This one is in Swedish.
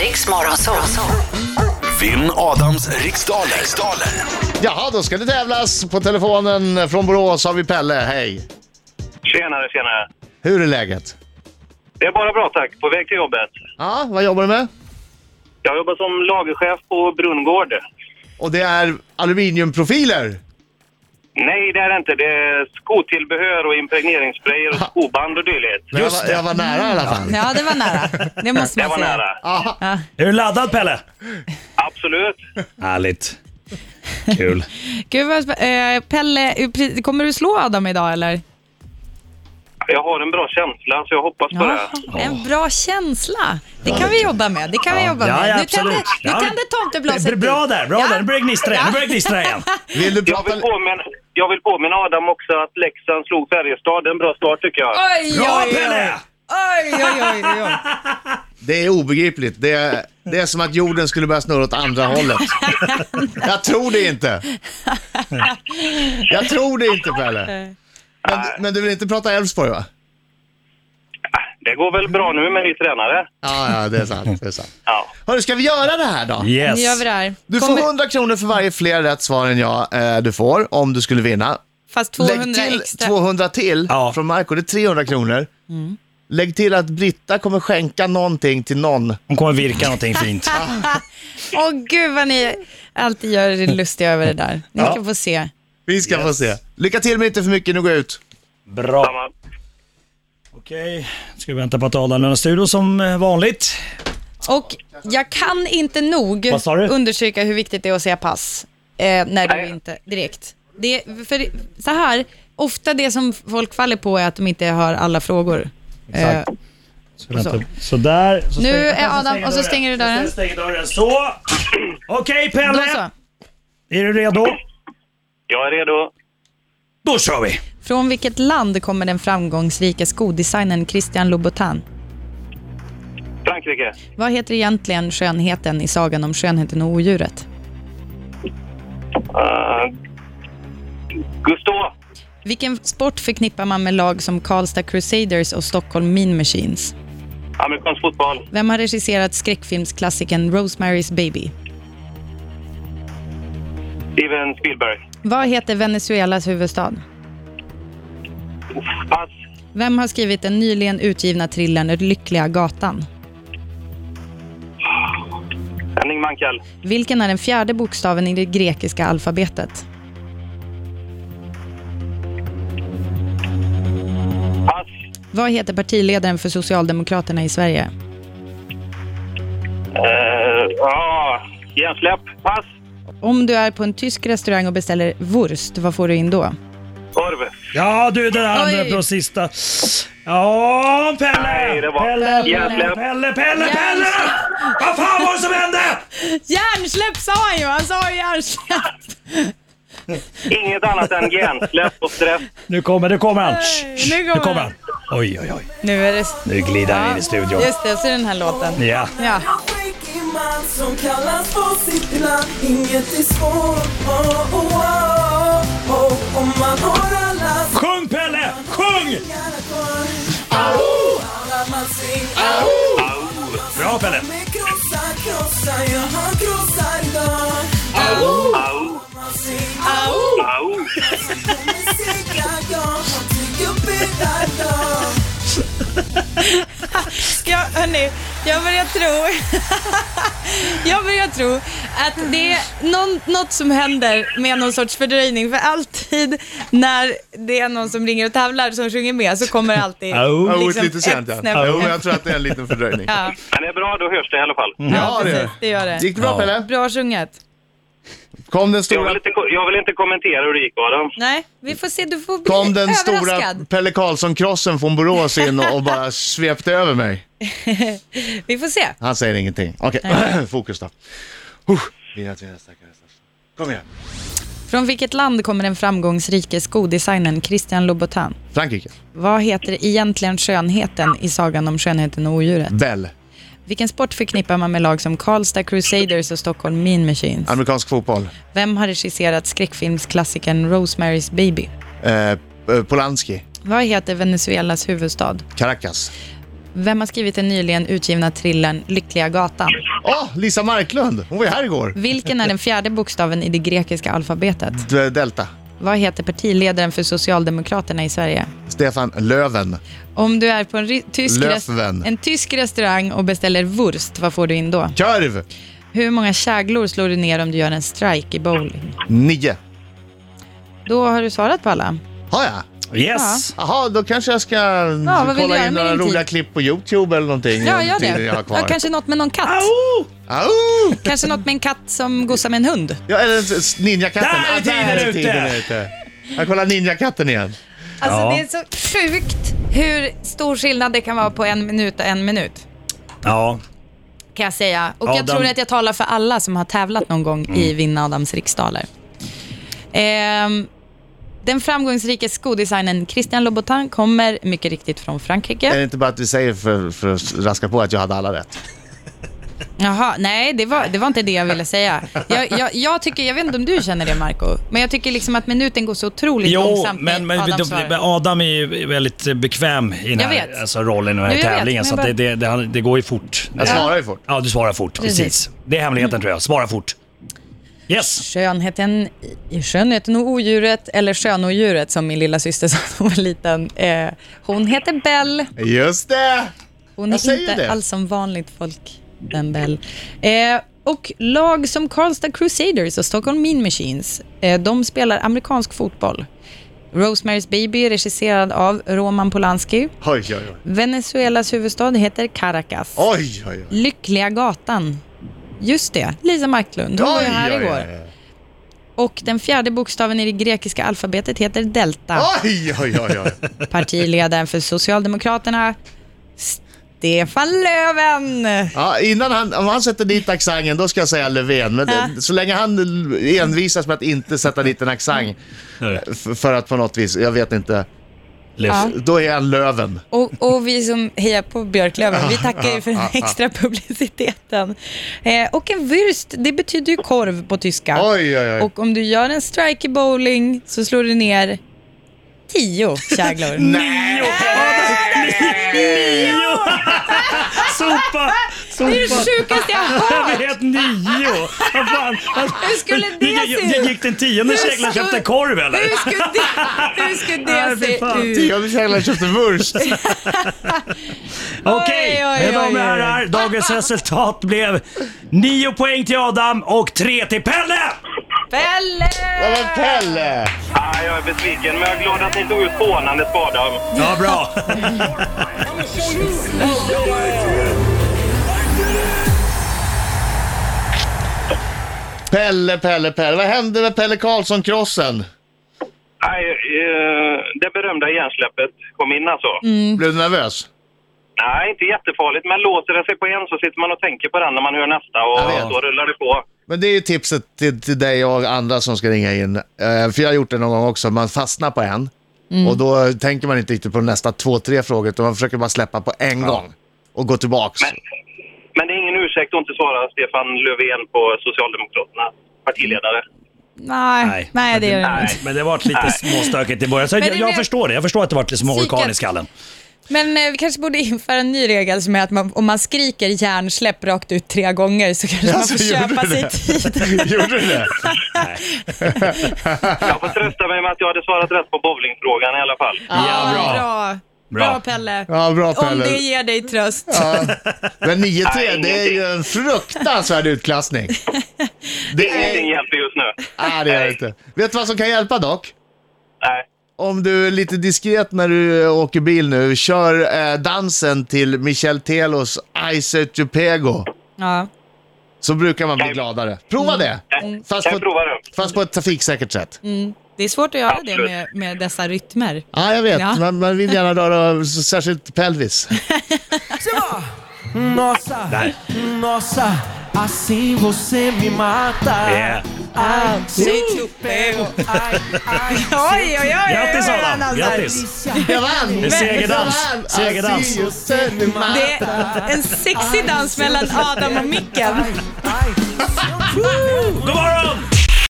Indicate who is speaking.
Speaker 1: Riks Morgonzoo.
Speaker 2: Vinn Adams riksdaler. riksdaler.
Speaker 3: Jaha, då ska det tävlas. På telefonen från Borås har vi Pelle. Hej!
Speaker 4: Tjenare, tjenare.
Speaker 3: Hur är läget?
Speaker 4: Det är bara bra tack, på väg till jobbet.
Speaker 3: Ja, vad jobbar du med?
Speaker 4: Jag jobbar som lagerchef på Brunngård.
Speaker 3: Och det är aluminiumprofiler.
Speaker 4: Nej, det är det inte. Det är skotillbehör och impregneringsspray och skoband och dylikt.
Speaker 3: Men jag, var, jag var nära i alla fall.
Speaker 5: Ja, det var nära. Det måste
Speaker 4: Det
Speaker 5: man
Speaker 4: var
Speaker 5: säga.
Speaker 4: nära.
Speaker 3: Aha.
Speaker 5: alltså, Ja.
Speaker 6: Är du laddad Pelle?
Speaker 4: Absolut.
Speaker 6: Härligt. Kul.
Speaker 5: Gud vad, spä- eh, Pelle, eh, pre- kommer du slå Adam idag eller?
Speaker 4: Jag har en bra känsla, så jag hoppas på det.
Speaker 5: en bra känsla. Det kan vi jobba med. Det kan vi jobba
Speaker 6: Ja,
Speaker 5: med.
Speaker 6: ja,
Speaker 5: nu tände,
Speaker 6: absolut.
Speaker 5: nu
Speaker 6: Ja.
Speaker 5: tände tomteblaset
Speaker 6: Bra- Bra
Speaker 5: till.
Speaker 6: där, bra
Speaker 5: Ja.
Speaker 6: där. Nu börjar det gnistra igen.
Speaker 5: Ja.
Speaker 6: Nu börjar det gnistra igen.
Speaker 3: Vill du
Speaker 4: Jag
Speaker 3: prata...
Speaker 4: vill, påminna, jag vill påminna Adam också att Leksand slog Färjestad. Det är en bra start tycker jag.
Speaker 5: Oj,
Speaker 6: Bra
Speaker 5: oj, oj.
Speaker 6: Pelle!
Speaker 5: Oj, oj, oj, oj, oj.
Speaker 3: Det är obegripligt. Det är, det är som att jorden skulle börja snurra åt andra hållet. Jag tror det inte. Jag tror det inte, Pelle. Men, men du vill inte prata Elfsborg, va?
Speaker 4: Det går väl bra nu med ny tränare?
Speaker 3: Ja, ja, det är sant. Det är sant.
Speaker 4: Ja.
Speaker 3: Hörru, ska vi göra det här då?
Speaker 5: Nu gör
Speaker 6: Yes.
Speaker 5: vi det här.
Speaker 3: Du får
Speaker 5: Kommer-
Speaker 3: 100 kronor för varje fler rätt svar än jag eh, du får, om du skulle vinna.
Speaker 5: Fast 200
Speaker 3: Lägg till
Speaker 5: extra. Mm.
Speaker 3: 200 till
Speaker 6: Ja.
Speaker 3: från Marco, det är 300 kronor. Lägg till att Britta kommer skänka någonting till någon.
Speaker 6: Hon kommer virka någonting fint.
Speaker 5: Åh gud vad ni alltid gör er lustiga över det där. Ni
Speaker 6: Ja.
Speaker 5: ska få se.
Speaker 3: Vi ska få se. Lycka till men inte för mycket, nu går jag ut.
Speaker 6: Bra.
Speaker 4: Samma.
Speaker 6: Okej, ska vi vänta på att Adam lämnar studion som eh, vanligt.
Speaker 5: Och jag kan inte nog
Speaker 6: Vad sa du?
Speaker 5: undersöka hur viktigt det är att säga pass eh, när du
Speaker 4: Nej.
Speaker 5: inte direkt. Det, för så här, ofta det som folk faller på är att de inte hör alla frågor. Eh,
Speaker 6: Så vänta. Sådär. Så
Speaker 5: Nu är
Speaker 6: stäng-
Speaker 5: Adam- och så stänger du dörren.
Speaker 6: Så Stänger dörren. Så! Okej
Speaker 5: då
Speaker 6: Pelle,
Speaker 5: så.
Speaker 6: är du redo?
Speaker 4: Jag är redo.
Speaker 6: Då kör vi!
Speaker 5: Från vilket land kommer den framgångsrika skodesignern Christian Louboutin?
Speaker 4: Frankrike.
Speaker 5: Vad heter egentligen skönheten i sagan om skönheten och odjuret?
Speaker 4: Uh, Gustav.
Speaker 5: Vilken sport förknippar man med lag som Karlstad Crusaders och Stockholm Mean Machines?
Speaker 4: Amerikansk fotboll.
Speaker 5: Vem har regisserat skräckfilmsklassikern Rosemary's Baby?
Speaker 4: Steven Spielberg.
Speaker 5: Vad heter Venezuelas huvudstad?
Speaker 4: Pass.
Speaker 5: Vem har skrivit den nyligen utgivna thrillern Lyckliga gatan?
Speaker 4: Henning Mankell.
Speaker 5: Vilken är den fjärde bokstaven i det grekiska alfabetet?
Speaker 4: Pass.
Speaker 5: Vad heter partiledaren för Socialdemokraterna i Sverige?
Speaker 4: Eh, Ja, gensläpp. Pass.
Speaker 5: Om du är på en tysk restaurang och beställer wurst, vad får du in då?
Speaker 4: Korv.
Speaker 6: Ja du, det där andra
Speaker 5: Oj.
Speaker 6: på sista. Ja, Pelle!
Speaker 4: Nej, det var-
Speaker 6: Pelle, Pelle,
Speaker 4: Jävlar.
Speaker 6: Pelle, Pelle, Pelle!
Speaker 5: Jävlar.
Speaker 6: Vad fan var det som hände?
Speaker 5: Hjärnsläpp sa han ju! Han sa ju hjärnsläpp!
Speaker 4: Inget annat än gensläpp och stress.
Speaker 6: Nu kommer, nu kommer han.
Speaker 5: Nej,
Speaker 6: Shh,
Speaker 5: nu
Speaker 6: nu
Speaker 5: kommer
Speaker 6: kommer
Speaker 5: han.
Speaker 6: han. Oj, oj, oj.
Speaker 5: Nu är det...
Speaker 6: Nu glider han in i studion.
Speaker 5: Just det, så är den här låten.
Speaker 6: Ja.
Speaker 5: Ja.
Speaker 7: Freaky man som kallas på sitt land Inget är svårt oh, oh, oh, oh. Om man har alla
Speaker 6: Sjung Pelle, sjung!
Speaker 7: sängar kvar Au! Bara man sängar
Speaker 6: Bra Pelle.
Speaker 7: Med krossa, krossa, ja han krossar idag
Speaker 4: Au,
Speaker 7: Man sängar
Speaker 4: au.
Speaker 7: med segrar, ja han tycker bäddar idag
Speaker 5: Jag, hörni, jag börjar tro... jag börjar tro att det är någon, något som händer med någon sorts fördröjning. För alltid när det är någon som ringer och tävlar som sjunger med så kommer alltid...
Speaker 6: Au.
Speaker 3: Jo,
Speaker 5: Liksom
Speaker 3: lite sent ja.
Speaker 5: ett snäpp.
Speaker 3: Jo, men jag tror att det är en liten fördröjning.
Speaker 5: Ja,
Speaker 4: Men det är bra, då hörs det i alla fall.
Speaker 3: Ja, det
Speaker 5: precis,
Speaker 3: är
Speaker 5: det gör
Speaker 3: det.
Speaker 5: det.
Speaker 3: Gick det bra Pelle?
Speaker 5: Bra sjunget.
Speaker 3: Kom den
Speaker 4: Jag vill
Speaker 3: stora,
Speaker 4: inte, ko- jag vill inte kommentera hur det gick, Adam.
Speaker 5: Nej, vi får se. Du får bli
Speaker 3: kom den stora
Speaker 5: överraskad.
Speaker 3: Pelle Karlsson-krossen från Borås in och och bara svepte över mig?
Speaker 5: Vi får se.
Speaker 3: Han säger ingenting. Okej, fokus då. Huh. Vinna till nästa, nästa. Kom igen.
Speaker 5: Från vilket land kommer den framgångsrike skodesignern Christian Louboutin?
Speaker 3: Frankrike.
Speaker 5: Vad heter egentligen skönheten i sagan om skönheten och odjuret?
Speaker 3: Bell.
Speaker 5: Vilken sport förknippar man med lag som Karlstad Crusaders och Stockholm Mean Machines?
Speaker 3: Amerikansk fotboll.
Speaker 5: Vem har regisserat skräckfilmsklassikern Rosemary's Baby?
Speaker 3: Eh, eh, Polanski.
Speaker 5: Vad heter Venezuelas huvudstad?
Speaker 3: Caracas.
Speaker 5: Vem har skrivit den nyligen utgivna thrillern Lyckliga gatan?
Speaker 3: Åh, Lisa Marklund. Hon var ju här igår.
Speaker 5: Vilken är den fjärde bokstaven i det grekiska alfabetet?
Speaker 3: D- Delta.
Speaker 5: Vad heter partiledaren för Socialdemokraterna i Sverige?
Speaker 3: Stefan Löven.
Speaker 5: Om du är på en, ri- tysk,
Speaker 3: Löfven.
Speaker 5: rest- en tysk restaurang och beställer wurst, vad får du in då?
Speaker 3: Körv.
Speaker 5: Hur många käglor slår du ner om du gör en strike i bowling?
Speaker 3: Nio.
Speaker 5: Då har du svarat på alla.
Speaker 3: Har jag?
Speaker 6: Yes!
Speaker 3: Jaha, då kanske jag ska
Speaker 5: vad vill du
Speaker 3: kolla
Speaker 5: göra
Speaker 3: in
Speaker 5: med
Speaker 3: några
Speaker 5: din
Speaker 3: roliga
Speaker 5: tid?
Speaker 3: klipp på YouTube eller någonting.
Speaker 5: Ja, gör
Speaker 3: Tiden
Speaker 5: det.
Speaker 3: Jag har kvar.
Speaker 5: Ja, kanske något med någon katt.
Speaker 6: Oh!
Speaker 3: Au!
Speaker 5: Kanske något med en katt som gosar med en hund.
Speaker 3: Ja, eller s- Ninjakatten.
Speaker 6: Där är
Speaker 3: Ah,
Speaker 6: tiden ute.
Speaker 3: ute. Jag kollar Ninjakatten igen.
Speaker 5: Alltså
Speaker 6: Ja.
Speaker 5: det är så sjukt hur stor skillnad det kan vara på en minut och en minut.
Speaker 6: Ja,
Speaker 5: Kan jag säga. Och
Speaker 6: Adam- Mm.
Speaker 5: jag tror att jag talar för alla som har tävlat någon gång i Vinn Adams riksdaler. Ehm, den framgångsrike skodesignern Christian Louboutin kommer mycket riktigt från Frankrike.
Speaker 3: Är
Speaker 6: Eh.
Speaker 3: det inte bara att vi säger för, för att raska på att jag hade alla rätt?
Speaker 5: Jaha, nej det var, det var inte det jag ville säga. Jag, jag, jag, tycker, jag vet inte om du känner det Marco men jag tycker liksom att minuten går så otroligt
Speaker 6: Jo,
Speaker 5: långsamt
Speaker 6: men, men
Speaker 5: när Adam
Speaker 6: Adam,
Speaker 5: svarar.
Speaker 6: men Adam är ju väldigt bekväm i den
Speaker 5: Jag
Speaker 6: här
Speaker 5: vet.
Speaker 6: alltså, rollen i den här
Speaker 5: Jo, jag vet,
Speaker 6: tävlingen.
Speaker 5: men
Speaker 6: så att
Speaker 5: jag
Speaker 6: det, det, det, han- det går ju fort.
Speaker 3: Jag svarar ju fort.
Speaker 6: Ja, du svarar fort. Precis.
Speaker 5: Precis.
Speaker 6: Det är hemligheten tror jag. Svara fort. Yes!
Speaker 5: Skönheten, i skönheten och odjuret, eller skönodjuret som min lilla syster sa när hon var liten. Eh, hon heter Bell.
Speaker 3: Just det!
Speaker 5: Hon
Speaker 3: Jag
Speaker 5: är
Speaker 3: säger
Speaker 5: inte
Speaker 3: det.
Speaker 5: alls som vanligt folk, den Bell. Eh, och lag som Karlstad Crusaders och Stockholm Mean Machines, eh, de spelar amerikansk fotboll. Rosemary's Baby är regisserad av Roman Polanski.
Speaker 3: Oj, oj, oj.
Speaker 5: Venezuelas huvudstad heter Caracas.
Speaker 3: Oj, oj, oj.
Speaker 5: Lyckliga gatan. Just det, Lisa Marklund. Hon var ju
Speaker 3: Oj,
Speaker 5: här
Speaker 3: oj,
Speaker 5: igår.
Speaker 3: oj.
Speaker 5: Och den fjärde bokstaven i det grekiska alfabetet heter delta.
Speaker 3: Oj, oj, oj, oj.
Speaker 5: Partiledaren för Socialdemokraterna, Stefan Löfven.
Speaker 3: Ja, innan han, om han sätter dit accenten, då ska jag säga Löfven. Men det, så länge han envisas med att inte sätta dit en accent f- för att på något vis, jag vet inte,
Speaker 6: Ja.
Speaker 3: då är han Löven.
Speaker 5: Och, och vi som hejar på Björklöven, vi tackar ju för den extra publiciteten. Eh, och en wurst, det betyder ju korv på tyska.
Speaker 3: Oj, oj, oj.
Speaker 5: Och om du gör en strike i bowling så slår du ner tio käglor.
Speaker 3: Nej!
Speaker 6: Nio! Sopa! Sopa!
Speaker 5: Det är det sjukaste jag har hört.
Speaker 6: Jag vet, nio! Vad fan?
Speaker 5: Hur skulle det
Speaker 6: Gick-
Speaker 5: se
Speaker 6: gick-
Speaker 5: ut?
Speaker 6: Gick den tionde
Speaker 5: Hur
Speaker 6: seglen och
Speaker 5: skulle-
Speaker 6: köpte korv eller?
Speaker 5: Hur skulle det, hur skulle
Speaker 6: Nej,
Speaker 5: det
Speaker 6: fy fan.
Speaker 5: se ut?
Speaker 3: Tionde källaren köpte wurst.
Speaker 6: Okej,
Speaker 5: Oj, oj,
Speaker 6: med
Speaker 5: oj,
Speaker 6: de
Speaker 5: oj.
Speaker 6: herrar. Dagens resultat blev nio poäng till Adam och tre till Pelle!
Speaker 5: Pelle!
Speaker 3: Ja, men Pelle!
Speaker 4: Ah, jag är besviken, men jag är glad att ni tog ut hånandet på Adam.
Speaker 6: Ja, bra.
Speaker 3: Pelle, Pelle, Pelle. Vad hände med Pelle Karlsson-krossen?
Speaker 4: Nej, eh, det berömda hjärnsläppet kom in alltså.
Speaker 3: Blev du nervös?
Speaker 4: Nej, inte jättefarligt, men låser det sig på en så sitter man och tänker på den när man hör nästa
Speaker 3: Jag
Speaker 4: och
Speaker 3: vet.
Speaker 4: så rullar det på.
Speaker 3: Men det är ju tipset till, till dig och andra som ska ringa in. Eh, för jag har gjort det någon gång också. Man fastnar på en och då tänker man inte riktigt på nästa två, tre frågor utan man försöker bara släppa på en gång och gå tillbaks.
Speaker 4: Men, men det är ingen ursäkt att inte svara Stefan Löfven på Socialdemokraterna, partiledare.
Speaker 5: Nej, nej det gör det inte.
Speaker 6: Men det varit lite småstökigt i början. Så
Speaker 5: det
Speaker 6: jag, jag
Speaker 5: blev-
Speaker 6: förstår det. Jag förstår att det varit liksom
Speaker 5: Psyket.
Speaker 6: orkan i skallen.
Speaker 5: Men eh, vi kanske borde införa en ny regel som är att man, om man skriker hjärnsläpp rakt ut tre gånger så kanske man
Speaker 3: Alltså,
Speaker 5: får
Speaker 3: gjorde
Speaker 5: köpa
Speaker 3: du
Speaker 5: sig
Speaker 3: det?
Speaker 5: tid.
Speaker 3: Gjorde du det?
Speaker 4: Jag får trösta mig med att jag hade svarat rätt på bowlingfrågan i alla fall.
Speaker 5: Ja,
Speaker 6: bra.
Speaker 5: bra.
Speaker 6: Bra.
Speaker 5: Bra, Pelle.
Speaker 3: Ja, bra
Speaker 5: Om
Speaker 3: Pelle.
Speaker 5: det ger dig tröst.
Speaker 3: Men 9-3,
Speaker 4: Nej,
Speaker 3: det är ju en fruktansvärd utklassning. Det
Speaker 4: Ingenting
Speaker 3: är...
Speaker 4: hjälper just nu.
Speaker 3: Nej, det är det inte. Vet du vad som kan hjälpa dock?
Speaker 4: Nej.
Speaker 3: Om du är lite diskret när du eh, åker bil nu, kör eh, dansen till Michel Telos Ice Pego.
Speaker 5: Ja.
Speaker 3: så brukar man bli gladare. Prova det! Fast
Speaker 4: Mm. Kan
Speaker 3: på,
Speaker 4: jag prova det?
Speaker 3: fast på ett trafiksäkert sätt.
Speaker 5: Det är svårt att göra det
Speaker 4: Absolut.
Speaker 5: med, med dessa rytmer.
Speaker 3: Ja, jag vet.
Speaker 5: Ja.
Speaker 3: Man, man vill gärna röra, s- särskilt pelvis.
Speaker 7: Nossa,
Speaker 6: Där.
Speaker 7: nossa, assim você me mata.
Speaker 6: Yeah.
Speaker 7: Ai, se eu te pego, ai, ai. se eu
Speaker 5: Oj, oj, oj.
Speaker 6: Grattis Adam!
Speaker 7: te
Speaker 6: Grattis!
Speaker 7: delícia.
Speaker 3: Jag vann!
Speaker 6: är segerdans.
Speaker 3: Jag vann.
Speaker 6: Segerdans.
Speaker 3: Asi och sen-
Speaker 5: Det är en sexig dans mellan Adam och Micken.
Speaker 7: Ai, ai, se eu te pego.
Speaker 6: God morgon!